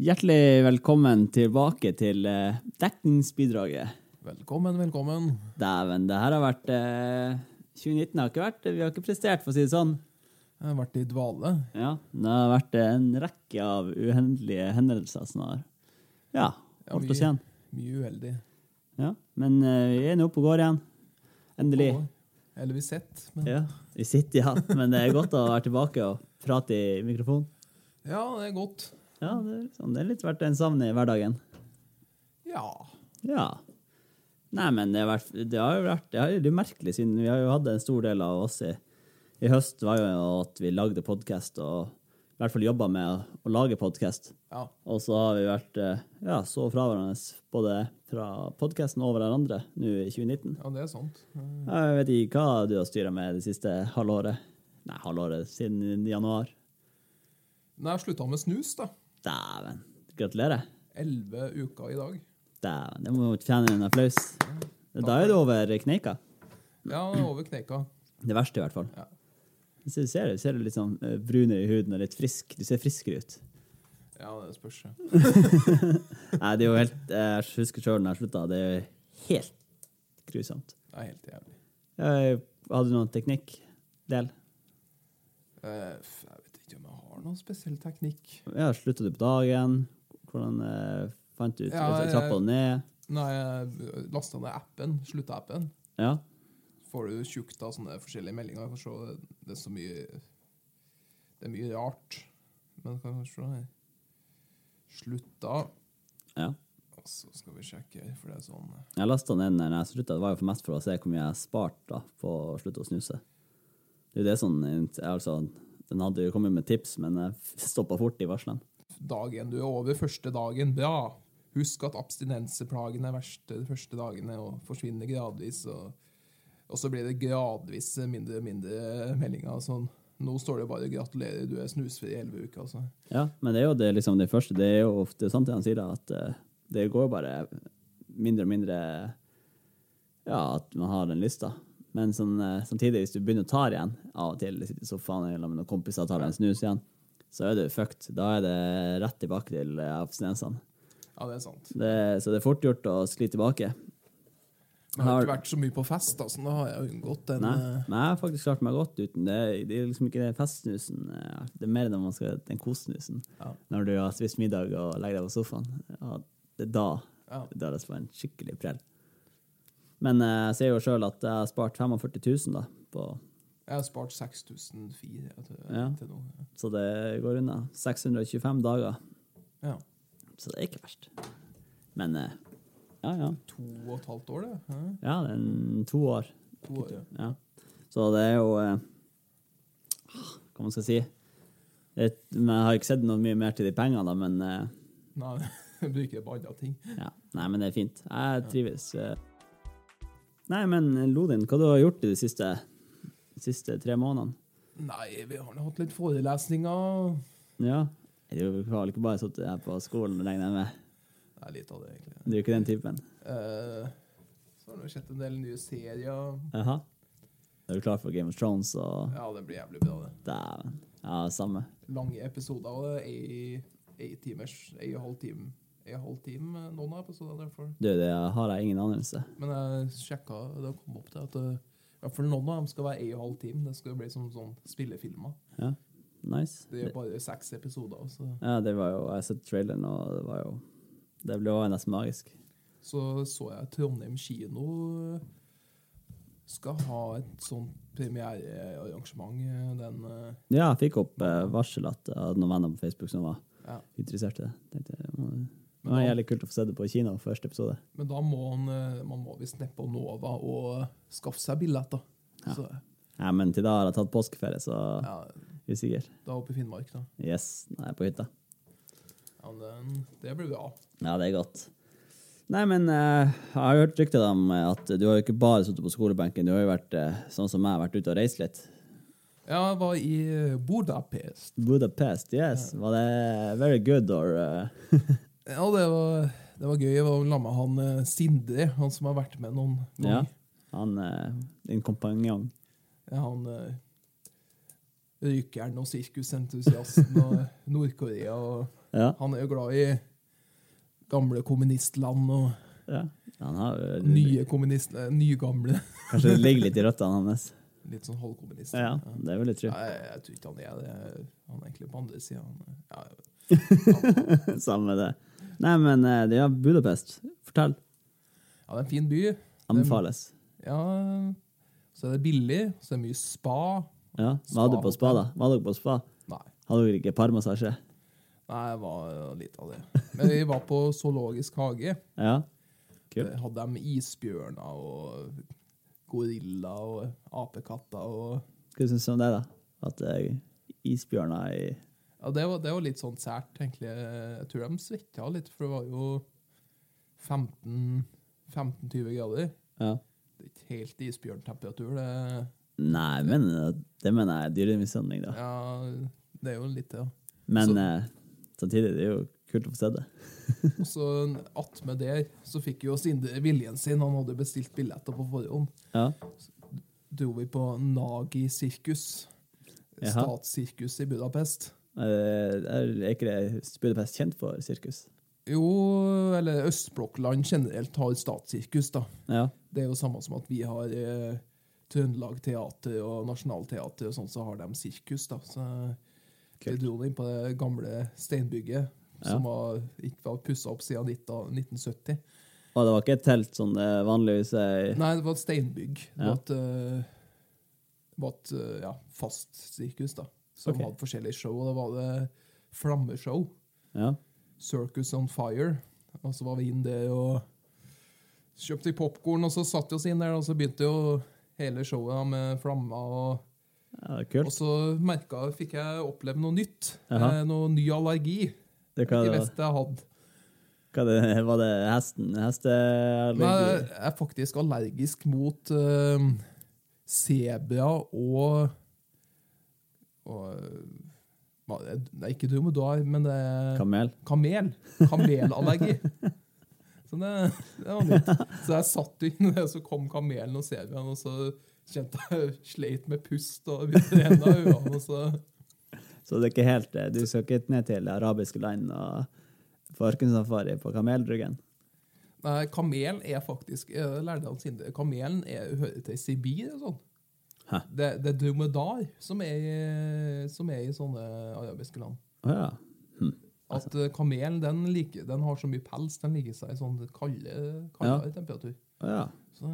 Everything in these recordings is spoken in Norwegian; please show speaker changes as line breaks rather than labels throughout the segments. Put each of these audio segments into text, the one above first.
Hjertelig velkommen tilbake til eh, dekningsbidraget.
Velkommen, velkommen.
Dæven, det her har vært eh, 2019 har ikke vært Vi har ikke prestert, for å si det sånn.
Jeg har vært i dvale.
Ja, Det har vært en rekke av uhendelige hendelser som har ja,
Ja,
holdt
vi-
oss igjen.
Mye uheldig.
Ja, Men eh, vi er nå oppe og går igjen. Endelig.
Og- Eller vi sett, men ja.
Ja, Vi sitter, ja. Men det er godt å være tilbake og prate i mikrofon.
det er godt.
Ja, det er, liksom, det er litt vært en savn i hverdagen.
Ja.
Ja. Nei, men det har, vært, det har jo vært det er jo litt merkelig, siden vi har jo hatt en stor del av oss i, i høst var jo at vi lagde podkast, og i hvert fall jobba med å, å lage podkast.
Ja.
Og så har vi vært eh, ja, så fra hverandre, både fra podkasten og hverandre, nå i 2019.
ja, det er sant. Eh,
Jeg vet ikke hva du har styra med det siste halvåret. Nei, halvåret siden januar.
Nei, jeg slutta med snus, da.
Dæven. Gratulerer.
Elleve uker i dag.
Dæven, det må jo fortjene en applaus. Da er det over kneika.
Ja, det er over kneika.
Det verste, i hvert fall.
Ja.
Så du ser, du ser litt sånn eh, brunere i huden og litt frisk. Du ser friskere ut.
Ja, det spørs. ja.
Nei, det er jo helt, Jeg husker sjøl da jeg slutta. Det er jo helt grusomt.
Det er helt jævlig.
Jeg hadde noen teknikkdel.
Eh, f- Jeg vet ikke om jeg har noen spesiell teknikk.
Ja, Slutta du på dagen? Hvordan eh, fant du ut
Ja,
altså,
jeg-
Trappa du ned?
Nei, jeg lasta ned appen, slutta-appen.
Ja.
Får du tjukt av sånne forskjellige meldinger. Jeg får se, det er så mye Det er mye rart. Men hva kan vi se her Slutta.
ja.
Og så skal vi sjekke her, for det er sånn
Jeg lasta ned den da jeg slutta. Det var jo for mest for å se hvor mye jeg sparte da, på å slutte å snuse. Det er jo det sånn, eh, altså, Den hadde jo kommet med tips, men jeg stoppa fort i varslene.
Dagen du er over, første dagen, bra. Husk at abstinenseplagene er verst de første dagene og forsvinner gradvis. Og, og så blir det gradvis mindre og mindre meldinger. og Sånn. Nå står det bare 'gratulerer, du er snusfri i elleve uker'. Altså.
Ja, men det er jo det, liksom, det første. Det er jo ofte sant det han sier, da, at eh, det går jo bare mindre og mindre Ja, at man har den lysta. Men sånn, eh, samtidig, hvis du begynner å ta det igjen av og til, sitter i sofaen eller med noen kompiser og tar deg en snus igjen, så er du fucked. Da er det rett tilbake til eh, abstinensene.
Ja, det er sant.
Det- Så det er fort gjort å skli tilbake.
Men jeg har ikke
Har-
vært så mye på fest, da, så da har jeg unngått den
Nei,
eh,
men jeg har faktisk klart meg godt uten det. Det er liksom ikke den festsnusen. eh, Det er mer den, man skal, den kossnusen.
Ja.
Når du har spist middag og legger deg på sofaen. Ja, det er da
Ja.
da det skal være en skikkelig prell. Men eh, jeg ser jo sjøl at jeg har spart 45 000, da. På,
Jeg har spart 6004 til,
Ja.
til nå.
så det går unna. 625 dager.
Ja.
Så det er ikke verst. Men eh, ja, ja.
To og et halvt år, det. Hæ?
Ja, det er en- to år.
To år, ja.
Ja. Så det er jo eh, ah, Hva man skal si? Et, men jeg har ikke sett noe mye mer til de pengene, da, men eh,
Nei, jeg bruker på andre ting.
ja. Nei, men det er fint. Jeg trives. eh. Nei, men Lodin, hva du har du gjort i de siste, de siste tre månedene?
Nei, vi har nå hatt litt forelesninger.
Ja? Du har vel ikke bare sittet her på skolen, regner jeg med?
Det er litt av det, egentlig.
Du er jo ikke den typen?
Eh, så har det jo sett en del nye serier.
Jaha? Er du klar for Game of Thrones og
Ja, det blir jævlig bra, det.
Dæven. Ja, samme.
Lange episoder og det er ei timers, ei og halv time. Ei og halv time, eh, noen av episodene. derfor.
Du, det har jeg ingen anelse.
Men jeg sjekka det kom opp til at eh, i hvert fall noen av dem skal være ei og halv time. Det skal bli som sånn spillefilmer.
Ja, nice.
Det er bare seks episoder. Så,
Ja, det var jo, jeg har sett traileren, og det var jo Det ble jo nesten magisk.
så så jeg Trondheim kino eh, skal ha et sånt premierearrangement eh, den eh,
Ja, jeg fikk opp eh, varsel at jeg hadde noen venner på Facebook som var
ja.
interessert i det. Tenkte jeg, må- Det var jævlig kult å få se det på kino, første episode.
Men da må han, eh, man må visst ned på Nova og skaffe seg billetter.
Ja.
Så
Ja, men til da har jeg tatt påskeferie, så
ja,
usikker.
da oppe i Finnmark, da.
Yes, nå er jeg på hytta.
Ja, men det blir bra.
Ja, det er godt. Nei, men eh, jeg har jo hørt rykter om eh, at du har jo ikke bare sittet på skolebenken, du har jo vært, eh, sånn som meg, vært ute og reist litt.
Ja, jeg var i eh, Budapest.
Budapest, yes. Var det very good, or eh,
Ja, det var, det var gøy. Jeg var sammen med han eh, Sindre, han som har vært med noen
Ja.
ganger.
Han, eh, din kompanjong.
Ja. Han eh, Rykeren og sirkusentusiasten og Nord-Korea. og
Ja,
Han er jo glad i gamle kommunistland og
ja. Han har jo
nye kommunist... eh, Nygamle.
Kanskje det ligger litt i røttene hans.
Litt sånn halvkommunist.
Ja, det vil jeg tro.
Nei, jeg, tror ikke han er det. Han er egentlig på andre sida. Ja,
Samme det. Nei, men eh, det er Budapest. Fortell.
ja, det er en fin by.
Anbefales.
Ja, så er det billig, så er det mye spa.
Ja. Var du på spa, da? Var dere på spa?
Nei,
Hadde dere ikke parmassasje?
nei, det var litt av det. Men vi var på zoologisk hage.
Ja. Kult.
Der Eh, hadde de isbjørner og gorilla og apekatter og
Hva syns du om det, da? At eh, isbjørner i
Ja, det var, det var litt sånn sært, egentlig. Jeg tror de svetta litt, for det var jo 15 15-20 grader.
Ja.
Det er ikke helt isbjørntemperatur, det.
Nei, men eh, det mener jeg er dyremishandling, da.
Ja, det er jo litt det. Ja.
Men
Så-
eh, samtidig, det er jo kult å få se det.
Og så attmed der så fikk jo Sindre viljen sin. Han hadde bestilt billetter på forhånd.
Ja.
Dro vi på Nagi sirkus.
Jaha.
Statssirkus i Budapest.
Eh, Er er ikke det Budapest kjent for sirkus?
Jo, eller østblokkland generelt har statssirkus, da.
Ja.
Det er jo samme som at vi har eh, Trøndelag Teater og Nationaltheatret og sånn, så har de sirkus, da. Så vi
Kult.
dro inn på det gamle steinbygget.
Ja.
Som var, ikke var pussa opp siden 19- 1970.
Og det var ikke et telt som det vanligvis er i
Nei, det var et steinbygg. Det
Ja.
var et, eh, det var et eh, ja, fast sirkus da, som
Ok.
hadde forskjellige show. Og da var det flammeshow,
Ja.
Circus on Fire. Og så var vi inn der og kjøpte popkorn, og så satte vi oss inn der, og så begynte jo hele showet da, med flammer. Og,
ja
og
kult.
så merket, fikk jeg oppleve noe nytt.
Jaha.
Eh, noe ny allergi.
Det, hva,
Ikke
det var-
visste jeg hadde.
Hva det, var det hesten?
Nei,
Hesteallergi?
jeg er faktisk allergisk mot uh, sebra og, og eh, hva- Det er ikke dromedar, men det er
Kamel?
kamel. Kamelallergi. Så det, det var nytt. Så jeg satt inn, og så kom kamelen og sebraen, og så kjente jeg sleit med pust og renna øynene. Og så
Så det er ikke helt eh, Du skal ikke ned til det arabiske land og få ørkensafari på kamelryggen?
Nei, kamel er faktisk jeg lærte han sin, Kamelen er, hører til Sibir og sånn.
Hæ?
Det, det er dromedar som er, i- som er i sånne arabiske land.
Å ja. Hm.
At eh, kamelen den, liker, den har så mye pels, den liker seg i sånn kalde, kaldere temperatur.
Å ja.
Så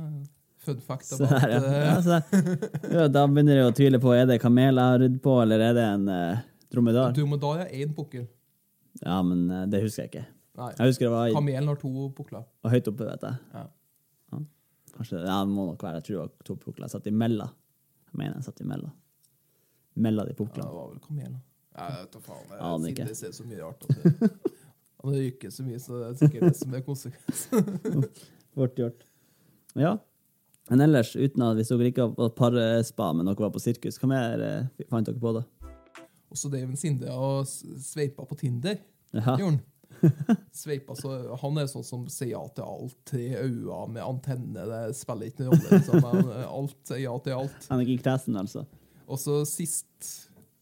fun fact
Se
om at
her, ja.
eh,
ja, se der. ja. Da begynner jeg å tvile på er det kamel jeg har ridd på, eller er det en eh, dromedar.
dromedar er én pukkel.
Ja, men eh, det husker jeg ikke.
Nei,
Jeg husker det var i-
kamelen har to pukler.
var høyt oppe, vet jeg.
Ja.
Ja. Kanskje ja, det må nok være. Jeg tror det var to pukler. Jeg satt imellom. Jeg mener jeg satt imellom. Mellom de
Ja, det
puklene.
var vel kamelen. Nei, Jeg vet da faen. Jeg,
Aner
siden
ikke.
det ser så mye rart ut. altså. Han ryker så mye, så det er sikkert det som er konsekvensen.
Fort gjort. Ja. Men ellers, uten at hvis dere ikke var på parspa, men dere var på sirkus, hva mer eh, fant dere på da?
Og så drev en Sinde og s- sveipa på Tinder.
Jaha.
Gjorde han. Sveipa, så han er sånn som sier ja til alt. Tre øyne med antenne, det spiller ikke noen rolle. Liksom. Han, eh, Alt sier ja til alt.
Han gikk testen, altså.
Og så sist,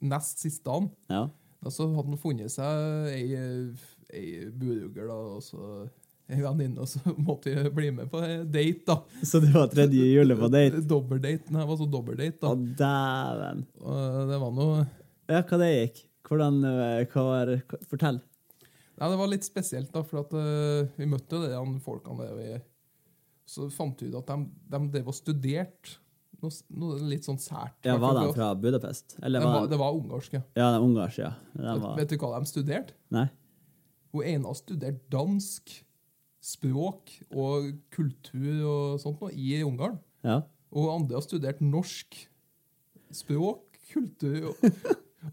nest siste dagen,
Ja.
da så hadde han funnet seg ei, eh, ei burger, da, og så ei venninne, og så måtte vi bli med på ei date, da.
Så det var tredje hjulet på date?
Dobbeldate. Nei, det var sånn dobbeldate,
Å,
da.
dæven.
Og Det var noe
Ja, hva det gikk? Hvordan eh, hva var, hva- Fortell.
Nei, det var litt spesielt, da, for at, eh, vi møtte jo det, han folkene der. Vi, så fant vi ut at de, de drev og studerte noe, s- noe litt sånn sært.
Ja, var de
Hvertfall-
fra Budapest?
De
Eller
var,
var de
det var ungarske.
Ja, de ungarske, ja. De var
Vet du hva de studerte?
Nei?
Hun ene har studert dansk, språk og kultur og sånt noe i Ungarn.
Ja.
Og hun andre har studert norsk, språk, kultur og,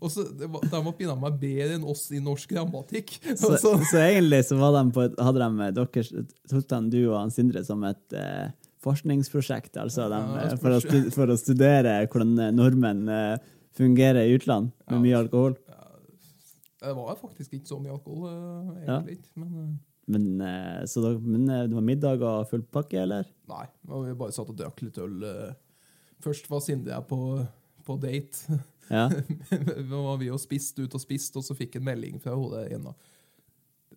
og så, det var, De var pinadø meg bedre enn oss i norsk grammatikk.
Så,
Så-
så egentlig så var de på et, hadde de eh, dere, tok de du og han Sindre som et eh, forskningsprosjekt, altså de,
Ja,
eh, for, å stu, for å studere hvordan eh, nordmenn eh, fungerer i utland med mye alkohol.
Det var faktisk ikke så mye alkohol, eh,
Ja.
egentlig ikke. Men eh,
Men, eh, så dere, men eh, det var middag og full pakke, eller?
nei, men vi bare satt og drakk litt øl. eh. Først var Sindre jeg på, på date.
Ja.
Nå var vi jo spist ut og spist, og så fikk en melding fra hodet igjen. da.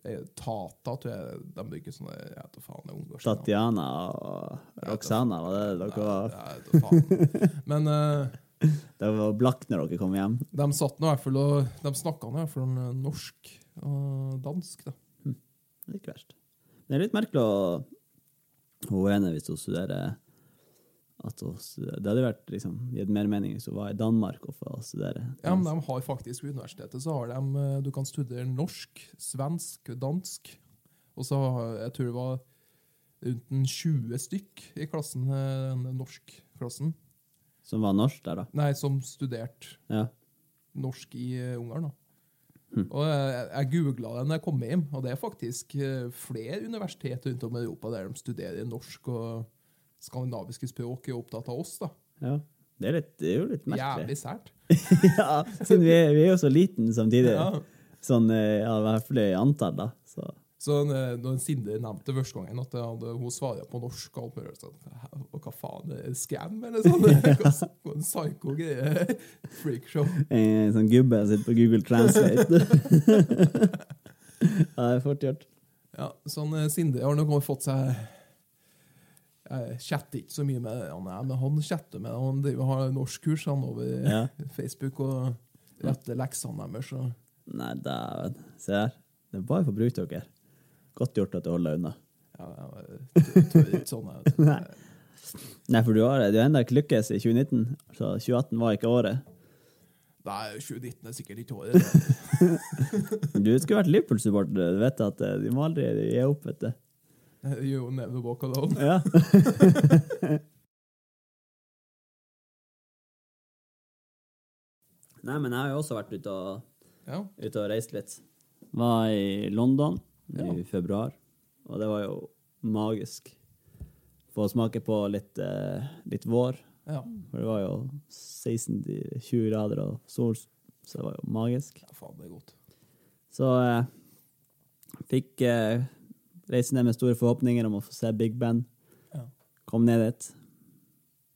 Eh, Tata, tror jeg. De bruker sånne Jeg vet da faen, det er ungarske navn.
Tatjana og Roxana, var det dere var?
Nei, jeg vet da faen. Men eh,
Det var blakk når dere kom hjem.
de satt nå i hvert fall og De snakka nå i hvert fall om eh, norsk og dansk, da.
Det er ikke verst. Men det er litt merkelig å Hun ene, hvis hun studerer at hun studerer. Det hadde vært liksom, gitt mer mening hvis hun var i Danmark og får studere.
Ja, men de har faktisk Ved universitetet så har de eh, Du kan studere norsk, svensk, dansk. Og så har jeg tror det var rundt en 20 stykk i klassen, eh, den norskklassen,
Som var norsk der, da.
nei, som studerte
Ja.
norsk i eh, Ungarn. da.
Hm.
Og jeg, jeg googla det når jeg kom hjem, og det er faktisk eh, flere universitet rundt om i Europa der de studerer norsk og skandinaviske språk er opptatt av oss. da.
ja. Det, er litt, det er jo litt merkelig.
Jævlig sært.
ja, siden vi er, vi er jo så liten samtidig.
Ja.
Sånn eh, ja, i hvert fall i antall, da. Så
Så eh, når Sinde nevnte første gangen at jeg hadde, hun svarer på norsk og alt mulig sånn, «Hæ? Og Hva faen, er det scam, eller sånn? Hva s- hva en psycho greie. Freakshow.
En sånn gubbe som sitter på Google Translate. ja, det er fort gjort.
Ja, sånn eh, Sinde har nok fått seg Jeg chatter ikke så mye med han, her, men han chatter med Han driver har norskkurs han over
Ja.
Facebook og retter leksene deres. og-
Nei, dæven. Se her. Det er bare for å bruke dere. Godt gjort at du holder deg unna.
Ja, jeg tør- tør ikke sånn. jeg, vet du.
Nei. Nei, for du har du har enda ikke lykkes i 2019, så 2018 var ikke året.
Nei, 2019 er sikkert ikke året.
Du skulle vært Liverpool-supporter. Du vet at eh, de må aldri gi opp, vet du.
You never walk alone.
Ja. Nei, men jeg har jo også vært ute og
Ja.
ute og reist litt. Var i London
Ja.
i februar, og det var jo magisk. Få smake på litt, eh, litt vår,
ja.
for det var jo 16-20 grader og sol, så det var jo magisk.
Ja, faen, det er godt.
Så eh, fikk eh, reise ned med store forhåpninger om å få se Big Band.
Ja.
Kom ned dit.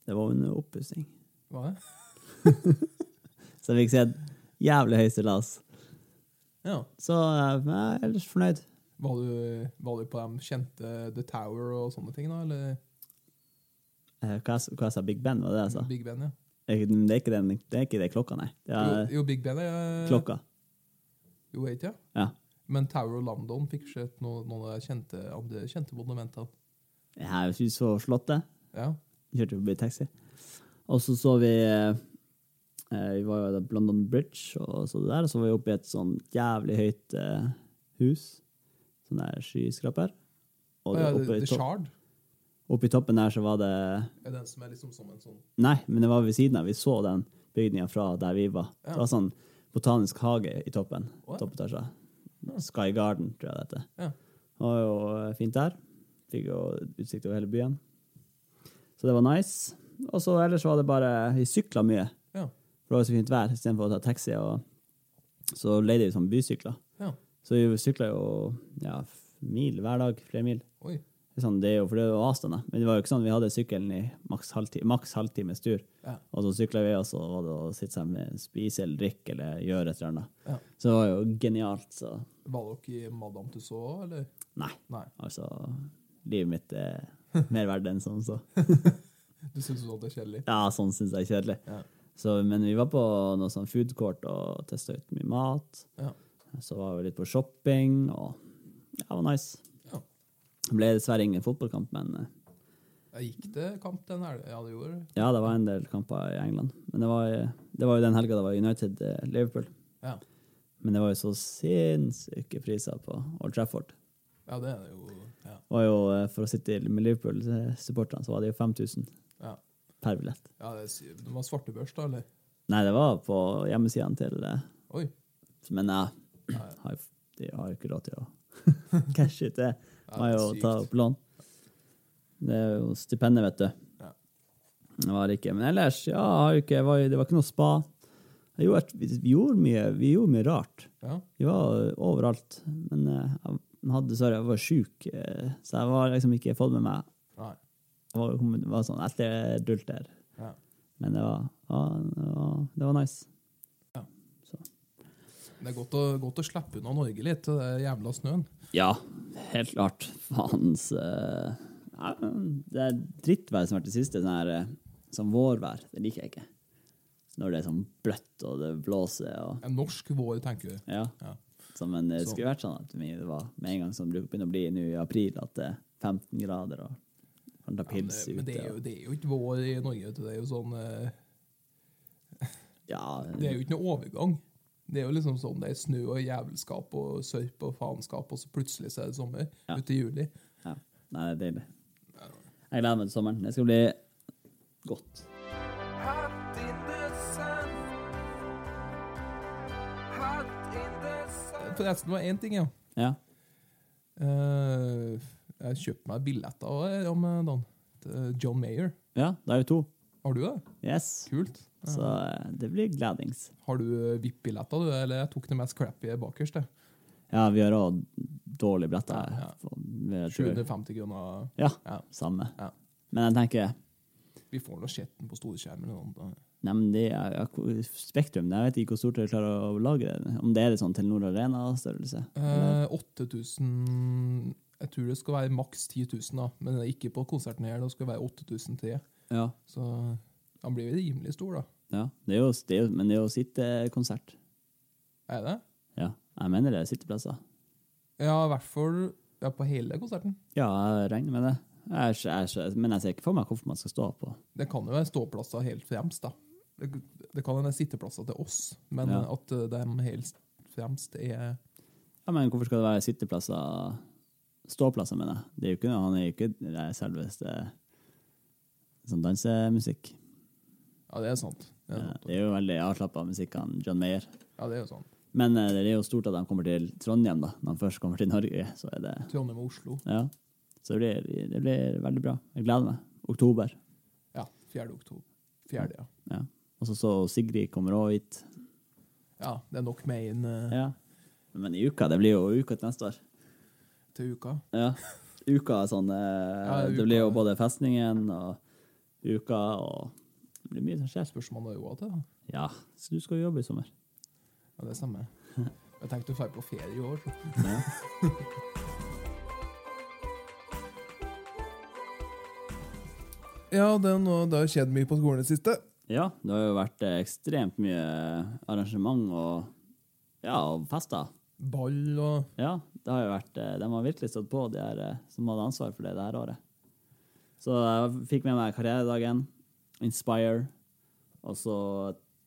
Det var jo en oppussing.
Hva er det?
Så jeg fikk se et jævlig høy stillas.
Ja.
Så eh, jeg er ellers fornøyd.
Var du, var du på de kjente The Tower og sånne ting, da? Eller
Eh, Hva, jeg s- hva jeg sa Big Band, var det jeg sa?
Big Ben? ja.
Jeg- men Det er ikke, den, det er ikke det klokka, nei. Det
Jo,
er
jo, eh. Big Ben er
klokka.
Jo, er ikke det?
Ja.
Men Tower of London fikk sett noen, noen av de kjente, andre kjente monumentene.
Jeg har ikke så slottet.
Ja.
Kjørte forbi taxi. Og så så vi eh, Vi var jo ved London Bridge, og så det der. Og så var vi oppe i et sånn jævlig høyt eh, hus. Sånn der skyskraper. Og
Å,
det,
ja,
oppe,
The,
i
the
topp,
Shard
oppe i toppen der så var det
er den som er liksom som en sånn
Nei, men det var ved siden av. Vi så den bygninga fra der vi var.
Ja.
Det var sånn botanisk hage i toppen.
Å, ja.
Toppetasja. Sky Garden, tror jeg det heter.
Ja.
Det var jo eh, fint der. Fikk jo utsikt over hele byen. Så det var nice. Og så ellers var det bare Vi sykla mye,
Ja.
for det var så fint vær, istedenfor å ta taxi. Og så leide vi sånn bysykler.
ja.
Så vi sykla jo ja, mil hver dag. Flere mil.
Oi.
Det er Sånn, det er jo, for det er jo avstander. Men det var jo ikke sånn vi hadde sykkelen i maks halvti- maks halvtimes tur.
Ja.
Og så sykla vi, og så var det å sitte sammen med spise eller drikke eller gjøre et eller annet.
Ja.
Så det var jo genialt, så
Var dere i Madame Tussauds, eller?
Nei.
Nei.
Altså, livet mitt er mer verdt enn som så.
Du syns sånt er kjedelig?
Ja, sånn syns jeg er kjedelig.
Ja.
Så, men vi var på noe sånn food court og testa ut mye mat.
Ja.
Så var vi litt på shopping, og ja, det var nice.
ja.
Det ble dessverre ingen fotballkamp, men eh,
Jeg gikk det kamp den helga? Ja, det gjorde det.
ja, det var en del kamper i England. Men det var, det var jo den helga det var United-Liverpool.
Ja.
Men det var jo så sinnssyke priser på Old Trafford.
ja, det er det jo. Ja.
Det var jo, eh, for å sitte med Liverpool-supporterne, så var det jo 5000
ja.
per billett.
ja det, er sy- det var svartebørs, da, eller?
Nei, det var på hjemmesidene til eh,
Oi.
Men jeg har, de har jo ikke råd til å cashe ut det.
Ja,
Må
det er
jo
sykt.
ta opp lån. Det er jo stipendet, vet du.
Ja.
Det var det ikke. Men ellers, ja, jeg har jo ikke, jeg var, jo- det var ikke noe spa. Jeg gjorde, vi, gjorde mye, vi gjorde mye rart.
Ja.
Vi var overalt. Men eh, jeg hadde dessverre, jeg var sjuk, eh, så jeg var liksom ikke fått med meg
Nei.
Jeg var, kom- var sånn etterdult der.
Ja.
Men det var, ja, det var, det var nice.
Det er godt å, godt å slappe unna Norge litt, den jævla snøen.
Ja, helt klart. Faens eh, ja, Det er drittvær som har vært det siste. Sånn her, eh, sånn vårvær. Det liker jeg ikke. Når det er sånn bløtt og det blåser og
En norsk vår, tenker du.
Ja.
Ja.
Som en, det
Så-
skulle vært sånn at vi- det var med en gang som det begynner å bli nå i april, at det er 15 grader og kan ta
Men,
pils
det- men det, er
ute.
jo,
og-
det er jo ikke vår i Norge. vet du. Det er jo sånn eh,
Ja,
Det er jo ikke noe overgang. Det er jo liksom sånn det er snø og jævelskap og sørp og faenskap, og så plutselig så er det sommer
Ja.
ute i juli.
ja. Nei, det er deilig. Jeg gleder meg til sommeren. Det skal bli godt.
Hot in the sun. Hot in the sun.
Forresten, det var én ting, ja.
Ja.
Eh, jeg kjøpte meg billetter også, om eh, dagen. til John Mayer.
ja, da er vi to.
Har du det?
Yes.
Kult. Ja.
Så eh, det blir gledings.
Har du eh, VIP-billetter, du? Eller jeg tok det mest crappy bakerst. jeg.
Ja, vi har òg dårlige billetter.
Ja, ja.
Vi tror-
750 kroner.
Ja,
Ja.
samme.
Ja.
Men jeg tenker
Vi får nå sett den på storskjermen. eller noe annet.
nei, men det er, ja, hvor- Spektrum Jeg vet ikke hvor stort dere klarer å lage det. Om det er det sånn Telenor Arena-størrelse?
Eh, 8000 Jeg tror det skal være maks 10 000, da. men det er ikke på konserten her. Det skal være 8000 til.
Ja.
Så han blir vel rimelig stor, da.
ja. Det er jo, det er, jo- men det er jo sittekonsert.
Er det?
Ja. Jeg mener det er sitteplasser.
Ja, i hvert fall ja, på hele konserten.
Ja, jeg regner med det. Jeg, er ikke- jeg, er ikke- men jeg ser ikke for meg hvorfor man skal stå på.
Det kan jo være ståplasser helt fremst, da. Det, det kan være sitteplasser til oss, men
Ja.
at eh, de helt fremst er
Ja, men hvorfor skal det være sitteplasser Ståplasser, mener jeg. Det er jo ikke, han er jo ikke det selveste eh, sånn dansemusikk.
Ja, det er sant. Det er,
Ja,
sant.
Eh, Det er jo veldig avslappa musikk av John Mayer.
Ja, det er jo sant.
Men eh, det er jo stort at de kommer til Trondheim, da. Når de først kommer til Norge, så er det
Trondheim og Oslo.
Ja. Så det blir, det blir veldig bra. Jeg gleder meg. Oktober.
Ja, 4. oktober. 4. ja.
Ja. Og så så Sigrid kommer òg hit.
Ja, det er nok med inn eh,
Ja. Men i uka, det blir jo uka til neste år.
til uka.
Ja. Uka er sånn eh,
Ja, uka.
Det blir jo både festningen og uka og Det blir mye som skjer.
Spørs om han har råd til det.
Ja, så du skal jo jobbe i sommer.
Ja, det stemmer. Jeg tenkte å dra på ferie i år. så.
Ja.
Ja, det, er noe, det har skjedd mye på skolen i det siste.
Ja, det har jo vært eh, ekstremt mye arrangement og, ja, og fester.
Ball og
Ja, det har jo vært, eh, de har virkelig stått på, de her, eh, som hadde ansvar for det det her året. Så jeg fikk med meg Karrieredagen, Inspire, og så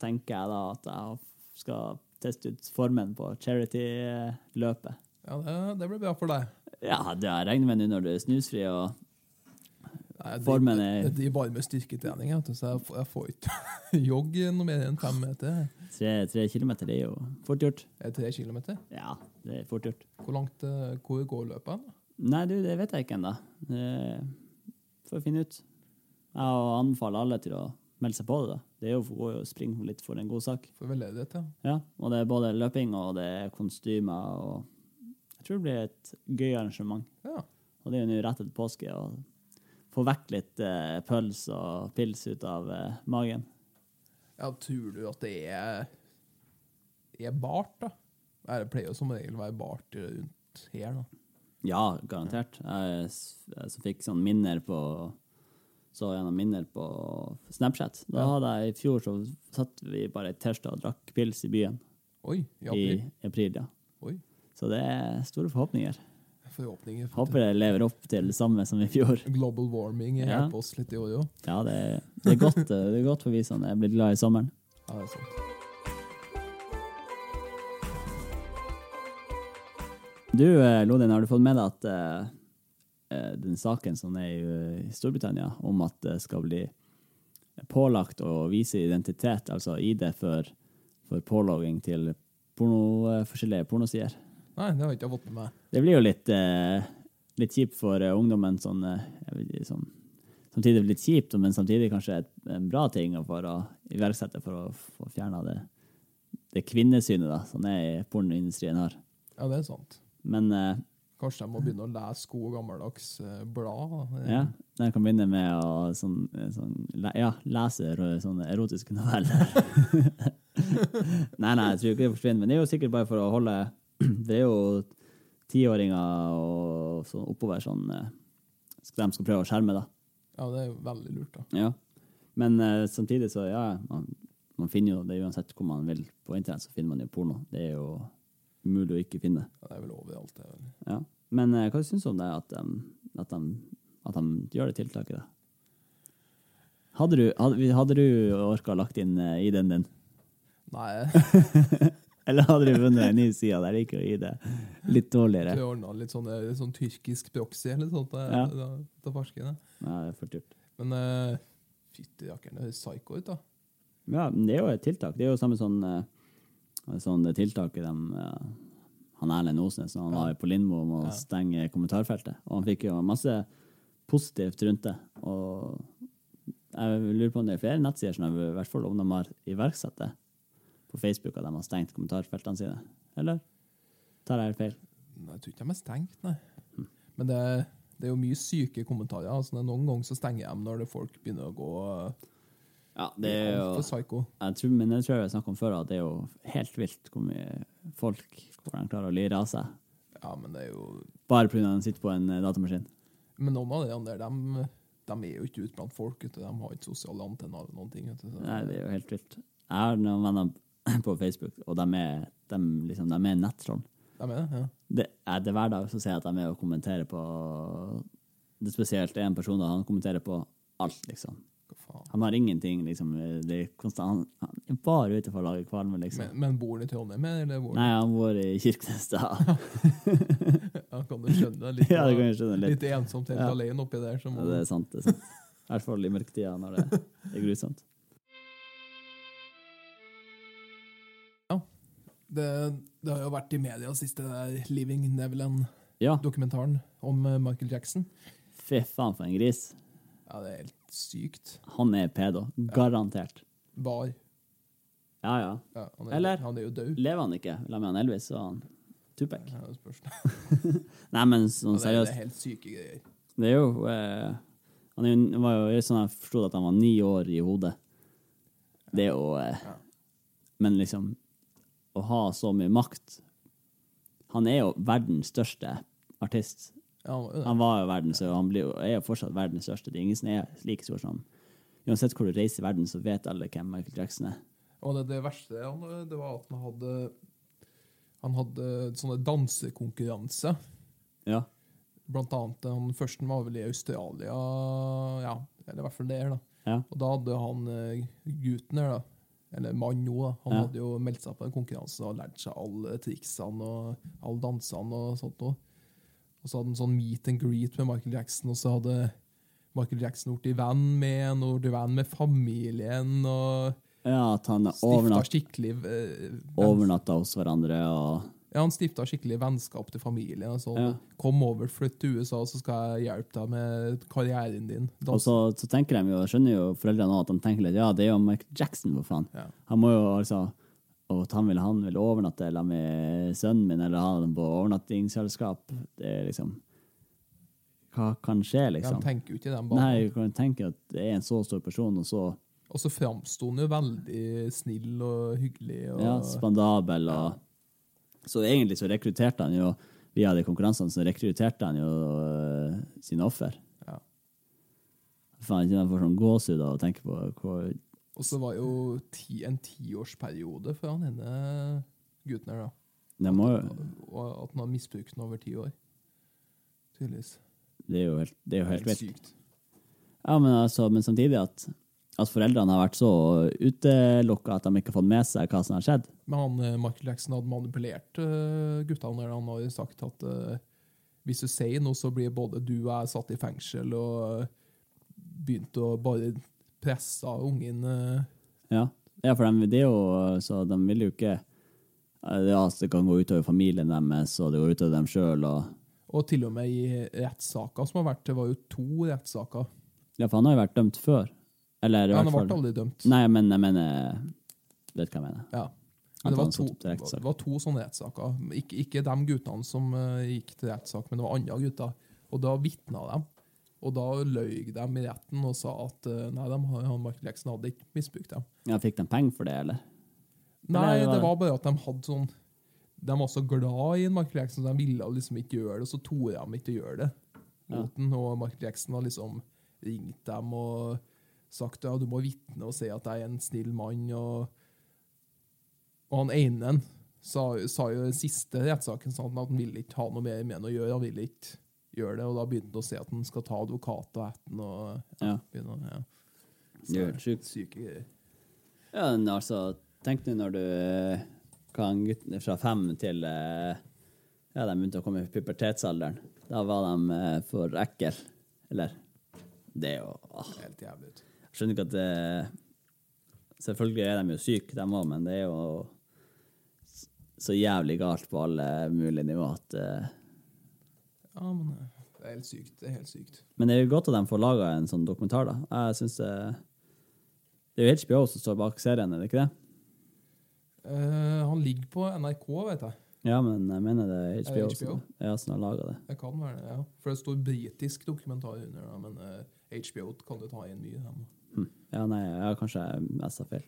tenker jeg da at jeg skal teste ut formen på charity-løpet.
Ja, det, det blir bra for deg.
Ja, det jeg regner med nå når du er snusfri og
Nei, jeg
Formen
driver-
er-
Jeg driver bare med styrketrening, jeg, vet du, så jeg, får- jeg får ikke jogge noe mer enn fem meter.
tre, tre kilometer, det er jo fort gjort.
Er det tre kilometer?
Ja, det er fort gjort.
Hvor langt eh, hvor går løpet? hen, da?
Nei, du, det vet jeg ikke ennå. Får finne ut. Jeg anbefaler alle til å melde seg på det. da. Det er jo for å springe litt for en god sak.
For veldedighet, ja.
Ja, Og det er både løping og det er konstymer og Jeg tror det blir et gøy arrangement.
ja.
Og det er jo nå rett etter påske. å få vekk litt eh, pøls og pils ut av eh, magen.
Ja, tror du at det er, er bart, da? Nei, Det pleier jo som regel å være bart rundt her, da.
Ja, garantert. Jeg, s- jeg så fikk sånn minner på så gjennom minner på Snapchat. Da
Ja.
hadde jeg I fjor så satt vi bare i tirsdag og drakk pils i byen.
Oi, i
I
april.
april, ja.
Oi,
Så det er store forhåpninger.
forhåpninger. for
Håper det lever opp til det samme som i fjor.
Global warming
Ja.
hjelper oss litt i år òg.
Ja, det, det er godt eh, Det er godt for vi som er blitt glad i sommeren.
Ja, det er sant.
Du, eh, Lodin, har du fått med deg at eh, eh, den saken som er i, eh, i Storbritannia, om at det skal bli pålagt å vise identitet, altså ID, for, for pålogging til porno, eh, forskjellige pornosider?
Nei, det har jeg ikke fått med meg.
Det blir jo litt, eh, litt kjipt for eh, ungdommen, sånn, eh, jeg vet ikke, sånn Samtidig litt kjipt, men samtidig kanskje et, en bra ting å for å iverksette for å få fjerna det, det kvinnesynet da, som er i pornoindustrien har.
Ja, det er sant.
Men eh,
Kanskje jeg må begynne å lese gode, gammeldags eh, blad. da.
Ja, jeg kan begynne eh, med å sånn, sånn, le- ja, lese ro- sånne erotiske noveller. Nei, nei, jeg tror ikke det forsvinner. Men det er jo sikkert bare for å holde Det er jo tiåringer og sånn oppover sånn eh, skal- De skal prøve å skjerme, da.
Ja, det er jo veldig lurt, da.
Ja. Men eh, samtidig så, ja, man, man finner jo det uansett hvor man vil på internett, så finner man jo porno. Det er jo umulig å ikke finne.
Ja, det er vel overalt, det. er vel.
Ja. Men eh, hva syns du om det at, em, at, de, at de gjør det tiltaket, da? Hadde du, hadde, hadde du orka lagt inn eh, ID-en din?
Nei,
Eller hadde du vunnet en ny side der det gikk å gi det litt dårligere?
vi ordna litt sånn, litt sånn tyrkisk proxy eller noe sånt. eh,
Ja.
Da, da farskene.
Nei, det er for dyrt.
Men uh, fytti rakkeren, det høres psycho ut, da.
Ja, men det er jo et tiltak. Det er jo samme sånn, eh, sånn det tiltaket de eh, Han Erlend Osnes når han var på Lindmo om å
Ja.
stenge kommentarfeltet. Og han fikk jo masse positivt rundt det. Og jeg lurer på om det er flere nettsider som har- i hvert fall om de har iverksatt det. På Facebook at de har stengt kommentarfeltene sine. Eller? Tar jeg feil?
Nei, Jeg tror ikke de er stengt, nei.
Hm.
Men det, det er jo mye syke kommentarer. altså det er Noen ganger så stenger de når det folk begynner å gå eh,
Ja,
altfor psycho.
jeg tror, men det tror jeg vi snakket om før, at det er jo helt vilt hvor mye folk hvordan klarer å lire av seg.
Ja, men det er jo
Bare pga. at de sitter på en eh, datamaskin.
Men noen av de der, de, de er jo ikke ute blant folk. Vet du. De har ikke sosiale antenner eller noen ting. Vet du. Så,
Nei, det er jo helt vilt. Jeg har noen venner på Facebook, og de er, de, liksom, de er nettroll.
de er det, ja.
Det er det er hver dag så ser jeg at de er og kommenterer på Det er spesielt en person, da. Han kommenterer på alt, liksom.
Hva faen.
Han har ingenting, liksom. Det er konstant, han, han er bare ute for å lage kvalme, liksom.
Men, men bor han i Trondheim, eller? Bor,
Nei, han bor i Kirkenes, da.
Ja, kan du skjønne det? Litt,
Ja, det kan jeg skjønne litt.
litt ensomt helt
Ja.
alene oppi der. Så
Ja,
må,
det er sant. det er sant. I hvert fall i mørketida, når det er grusomt.
det, det har jo vært i media sist, det der Living Neverland-dokumentaren
Ja,
om eh, Michael Jackson.
fy faen for en gris.
Ja, det er helt sykt.
Han er pedo. Garantert.
Var.
Ja, ja.
Ja, han, er,
Eller-
han er jo død.
Lever han ikke? La meg han Elvis og han Tupac.
Ja, det spørs.
Nei, men sånn
Ja, det er- det er
seriøst,
helt syke greier.
det er jo eh, Han er jo- var jo sånn jeg forsto at han var ni år i hodet. Det er jo eh,
Ja.
Men liksom, å ha så mye makt Han er jo verdens største artist.
Ja, han var jo det.
Han var jo verdens, og han blir, jo- er jo fortsatt verdens største. Det er ingen som er like stor som ham. Uansett hvor du reiser i verden, så vet alle hvem Michael Jackson er.
Og det, det verste han, det var at han hadde Han hadde sånne dansekonkurranser.
Ja.
Blant annet han første var vel i Australia, ja, eller i hvert fall der. da.
Ja.
Og da hadde han eh, gutten der, da, eller mannen nå, da, han
Ja.
hadde jo meldt seg på en konkurranse og lært seg alle triksene og alle dansene. Og sånt noe. Og så hadde han sånn meet and greet med Michael Jackson, og så hadde Michael Jackson blitt venn med han, og blitt venn med familien. og...
ja, at han
Stifta
overnatt,
skikkelig eh, venn-
overnatta hos hverandre og
Ja, han stifta skikkelig vennskap til familien. Og sånn.
Ja.
Kom over, flytt til USA, så skal jeg hjelpe deg med karrieren din. Da-
Og så, så tenker de jo, skjønner jo foreldrene nå at de tenker litt, ja, det er jo Michael Jackson, for faen.
Ja.
Han må jo altså, og at han vil, han vil overnatte eller med sønnen min, eller ha dem på overnattingsselskap. Det er liksom, hva kan skje,
De
liksom?
tenker jo ikke den
Nei,
banen.
du kan tenke at det er en så stor person, og så
Og så framsto han jo veldig snill og hyggelig. Og,
ja, spandabel, og så egentlig så rekrutterte han jo, via de konkurransene, så rekrutterte han jo øh, sine offer.
Ja.
Faen, ikke man får sånn gåsud av å tenke på hvor
og så var jo ti, en tiårsperiode for han ene gutten her, da.
det må jo...
Og at han har misbrukt den over ti år. Tydeligvis.
Det er jo helt, det er jo helt vilt.
sykt.
Ja, men, altså, men samtidig at, at foreldrene har vært så utelukka at de ikke har fått med seg hva som har skjedd.
Men han, eh, Michael Jackson hadde manipulert eh, guttene. der. Han har jo sagt at eh, hvis du sier noe, så blir både du og jeg satt i fengsel, og eh, begynte å bare presse av ungen. eh.
Ja, ja for de, det er jo, så de vil jo ikke ja, altså, Det kan gå utover familien deres, og det går utover dem sjøl.
Og til og med i rettssaker som har vært, det var jo to rettssaker.
Ja, for han har jo vært dømt før. Eller i
Ja, han
hvert
ble
fall
aldri dømt.
Nei, men jeg mener Vet hva jeg mener.
Ja.
At
Men det var,
han satt
to,
opp til rettssak.
det var to sånne rettssaker. Ikke, ikke de guttene som eh, gikk til rettssak, men det var andre gutter. Og da vitna de. Og da løy de i retten og sa at eh, nei, de, har- han Michael Jackson hadde ikke misbrukt dem.
Ja, fikk de penger for det, eller?
Nei,
Eller var
det
det-
var bare at de hadde sånn De var så glad i en Michael Jackson, så de ville liksom ikke gjøre det, og så torde de ikke gjøre det.
Ja.
Mot den, og Michael Jackson har liksom ringt dem og sagt ja, du må vitne og si at jeg er en snill mann. Og, og han ene sa, sa jo i den siste rettssaken sånn at han ville ikke ha noe mer med han å gjøre. Han ville ikke gjøre det, og da begynte han å si at han skal ta advokat og etten. Og,
Ja.
begynne, å- ja.
Det er jo helt sjukt.
Syke greier.
Ja, men altså, tenk nå når du eh, kan guttene fra fem til eh, Ja, de begynte å komme i pubertetsalderen. Da var de eh, for ekkel. Eller Det er jo åh.
Helt jævlig ut.
Jeg skjønner ikke at det Selvfølgelig er de jo syke, de òg, men det er jo s- så jævlig galt på alle mulige nivå at eh,
Ja, men eh, det er helt sykt. Det er helt sykt.
Men det er jo godt at de får laga en sånn dokumentar, da. Jeg synes det Det er jo HBO som står bak serien, er det ikke det?
Eh, han ligger på NRK, vet jeg.
Ja, men jeg mener det er
Er
HBO,
det HBO?
Som, ja, som har laga det.
Det kan være det, ja. For det står britisk dokumentar under, da, men eh, HBO kan du ta inn mye. da.
Hm. Ja, nei, ja, kanskje jeg messa feil.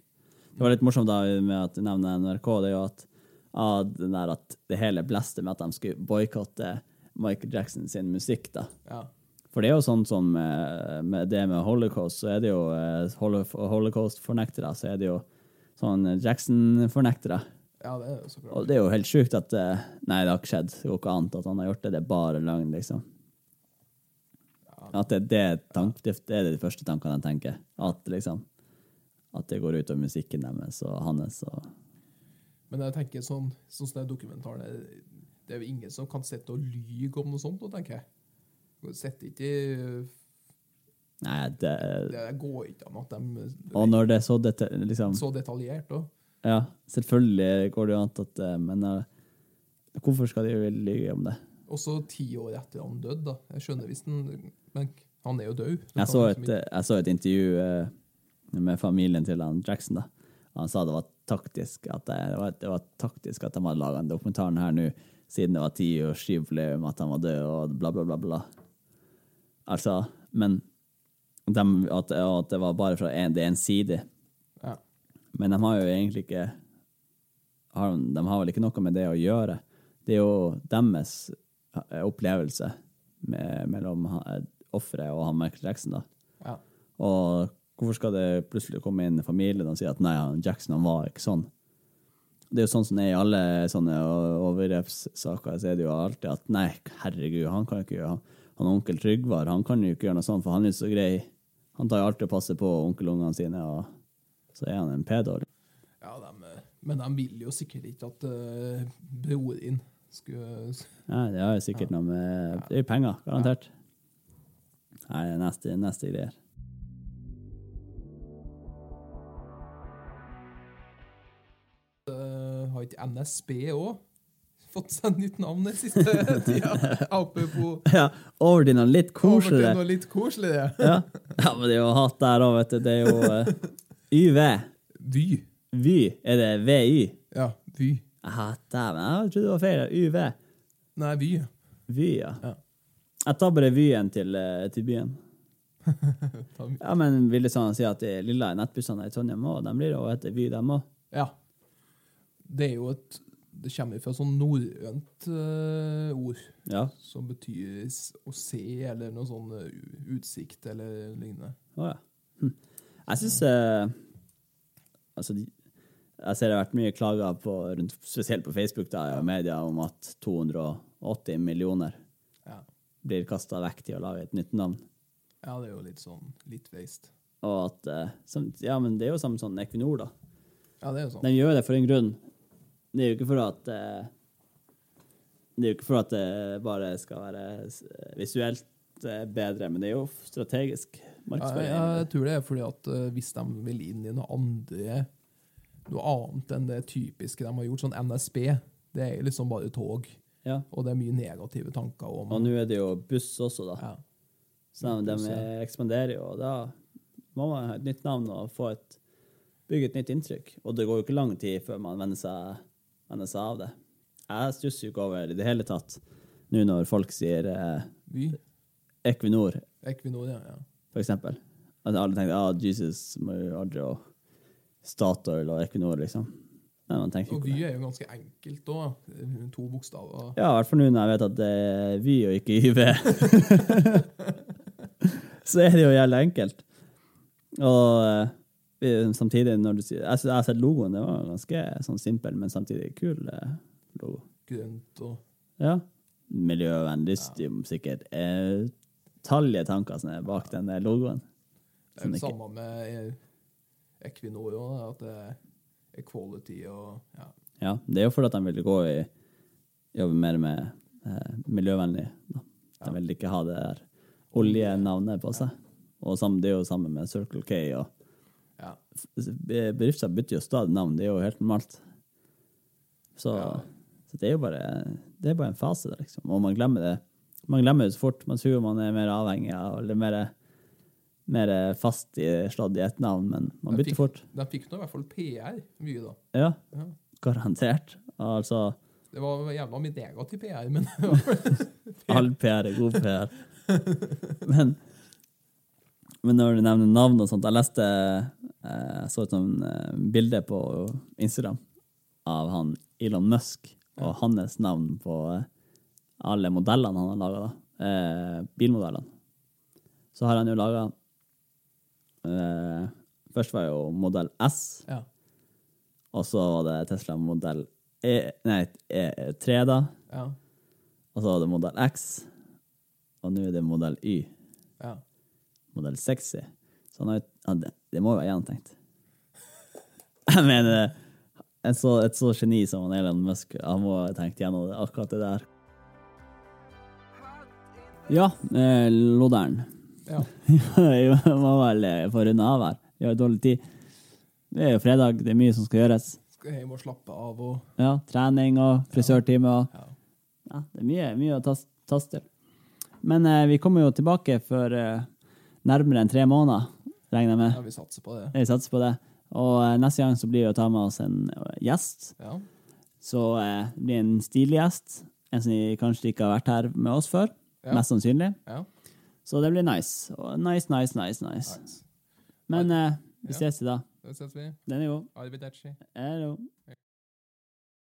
Det var litt morsomt da med at du nevner NRK, det er jo at, ja, den der at det hele blæste med at de skulle boikotte Michael Jackson sin musikk, da.
Ja.
For det er jo sånn som eh, med det med holocaust, så er det jo eh, holo- holocaust-fornektere, så er det jo sånn Jackson-fornektere.
ja, det er jo så bra.
Og det er jo helt sjukt at eh, Nei, det har ikke skjedd. Det går ikke an at han har gjort det. Det er bare løgn, liksom. At det, det, er tank, det, det er de første tankene jeg tenker. At liksom At det går ut over musikken deres og hans og
Men jeg tenker sånn, sånn som det dokumentaren er, det er jo ingen som kan sitte og lyge om noe sånt, da, tenker jeg. Sett ikke,
Nei, det
det går ikke an at de
Og når det er så deta- liksom,
så detaljert òg.
Ja, selvfølgelig går det jo an at eh, Men eh, hvorfor skal de lyve om det?
Også ti år etter han døde, da. Jeg skjønner hvis den Men han er jo død. Du kan
Jeg så
liksom
et, jeg så et intervju eh, med familien til han Jackson. da. Han sa det var taktisk at, det, det var, det var taktisk at de hadde laga den dokumentaren her nå, siden det var tiårsjubileum at han var død, og bla, bla, bla. bla. Altså, men dem- at, og at det var bare fra en, det er ensidig.
ikke- ja.
Men de har jo egentlig ikke har, de- De har vel ikke noe med det å gjøre. Det er jo deres eh, opplevelse med, mellom ha- offeret og han Michael Jackson, da.
Ja.
Og hvorfor skal det plutselig komme inn familien og si at nei, han Jackson han var ikke sånn? Det er jo sånn som det er i alle sånne o- overgrepssaker, så er det jo alltid at nei, herregud, han kan jo ikke gjøre Han onkel Trygvar, han kan jo ikke gjøre noe sånt, for han er jo så grei. Han tar jo alltid og passer på onkelungene sine, og så er han en pedo.
Ja, dem, eh, men de vil jo sikkert ikke at eh, bror din skulle
Nei, det har jo sikkert noe med Det er jo penger, garantert. Nei, det er neste, neste greier.
eh, Har ikke NSB òg fått seg nytt navn den siste tida? Apropos
Ja, over til noe litt
over til
koseligere.
noe litt koseligere.
Ja. ja, men det er jo hat der òg, vet du. Det er jo eh, YV.
Vy.
Vy. Er det VY?
Ja, Vy.
Ja, dæven, jeg trodde det var feil. UV.
Nei, Vy.
Vy, ja.
Ja.
Jeg tar bare Vyen til, eh, til byen.
Ta Vy.
Ja, men vil det sånn si at de lilla nettbussene i Trondheim òg, de blir jo hete Vy, dem òg?
Ja. Det er jo et Det kommer fra sånn norrønt eh, ord
Ja.
som betyr s- å se eller noe sånn eh, u- utsikt eller lignende.
Å ja. Hm. Jeg syns Altså, de, jeg ser det har vært mye klager på, rundt, spesielt på Facebook da, og media om at 280 millioner
Ja.
blir kasta vekk til å lage et nytt navn.
ja, det er jo litt sånn litt waste.
Og at eh, som, Ja, men det er jo samme sånn Equinor, da.
Ja, det er jo sånn.
De gjør det for en grunn. Det er jo ikke for at eh, Det er jo ikke for at det bare skal være eh, visuelt eh, bedre, men det er jo strategisk
Ja,
markedsføring.
ja, jeg tror det er fordi at eh, hvis de vil inn i noe andre Noe annet enn det typiske de har gjort, sånn NSB, det er liksom bare tog.
Ja.
Og det er mye negative tanker om
Og nå er det jo buss også, da.
ja.
Så de, de ekspanderer jo, og da må man ha et nytt navn og få et, bygge et nytt inntrykk. Og det går jo ikke lang tid før man venner seg, venner seg av det. Jeg stusser jo ikke over i det hele tatt nå når folk sier eh,
Vy.
Equinor,
Equinor, ja. ja.
for eksempel. At alle tenker ah, Jesus, Mario Adrio, Statoil og Equinor, liksom. Nei, man tenker
Og
ikke på
Vy
det.
er jo ganske enkelt òg. To bokstaver.
Ja, i hvert fall nå når jeg vet at det er Vy og ikke YV. så er det jo jævlig enkelt. Og eh, vi- samtidig, når du sier altså, Jeg sy- jeg har sett logoen, det var ganske sånn simpel, men samtidig kul eh, logo.
Grønt og
Ja. Miljøvennlig, ja. sikkert. Eh, tallige tanker som er bak den der logoen.
Det er jo det
Som
samme med eh, Equinor òg, at det er equality og ja.
Ja, det er jo fordi at de vil gå i jobbe mer med eh, miljøvennlig. Da. De vil ikke ha det der oljenavnet på seg. Og sam- det er jo sammen med Circle K. og
ja.
be- Bedrifter bytter jo stadig navn, det er jo helt normalt. Så,
Ja.
så det er jo bare det er bare en fase, der, liksom. Og man glemmer det man glemmer det så fort. Man tror man er mer avhengig av eller mer, mer fast i slått i ett navn, men man
De
bytter
fikk-
fort.
De fikk nå i hvert fall PR mye, da.
Ja,
Ja.
garantert. Altså
Det var jævla mye negativ PR, men
All PR er god PR. Men, men når du nevner navn og sånt Jeg leste eh, Jeg så et sånn eh, bilde på Instagram av han Elon Musk og hans navn på eh, alle modellene han har laga, da. Eh, bilmodellene. Så har han jo laga eh, Først var jo modell S.
ja.
Og så var det Tesla modell E, nei, E3, da.
Ja.
Og så var det modell X. Og nå er det modell Y.
ja.
Modell sexy. Så han har jo ja, det, det må jo være gjennomtenkt. Jeg mener, en så, et så geni som han Elon Musk, han må ha tenkt gjennom det, akkurat det der. Ja, eh, Lodern.
ja.
Vi må vel eh, få runde av her. Vi har jo dårlig tid. Det er jo fredag, det er mye som skal gjøres.
Skal hjem og slappe av og
Ja, trening og frisørtime og
ja.
Ja, det er mye, mye å tas- taste til. Men eh, vi kommer jo tilbake for eh, nærmere enn tre måneder, regner jeg
ja,
med.
vi satser på det.
Jeg satser på det. Og eh, neste gang så blir det å ta med oss en eh, gjest.
Ja.
Så eh, det blir en stilig gjest. En som kanskje ikke har vært her med oss før.
Ja.
Mest sannsynlig.
ja.
Så det blir nice. Og Nice, nice, nice, nice.
Nice.
Men eh, vi
Ja.
ses i dag.
Da ses vi.
Den er god.
Arrivederci.
Hello.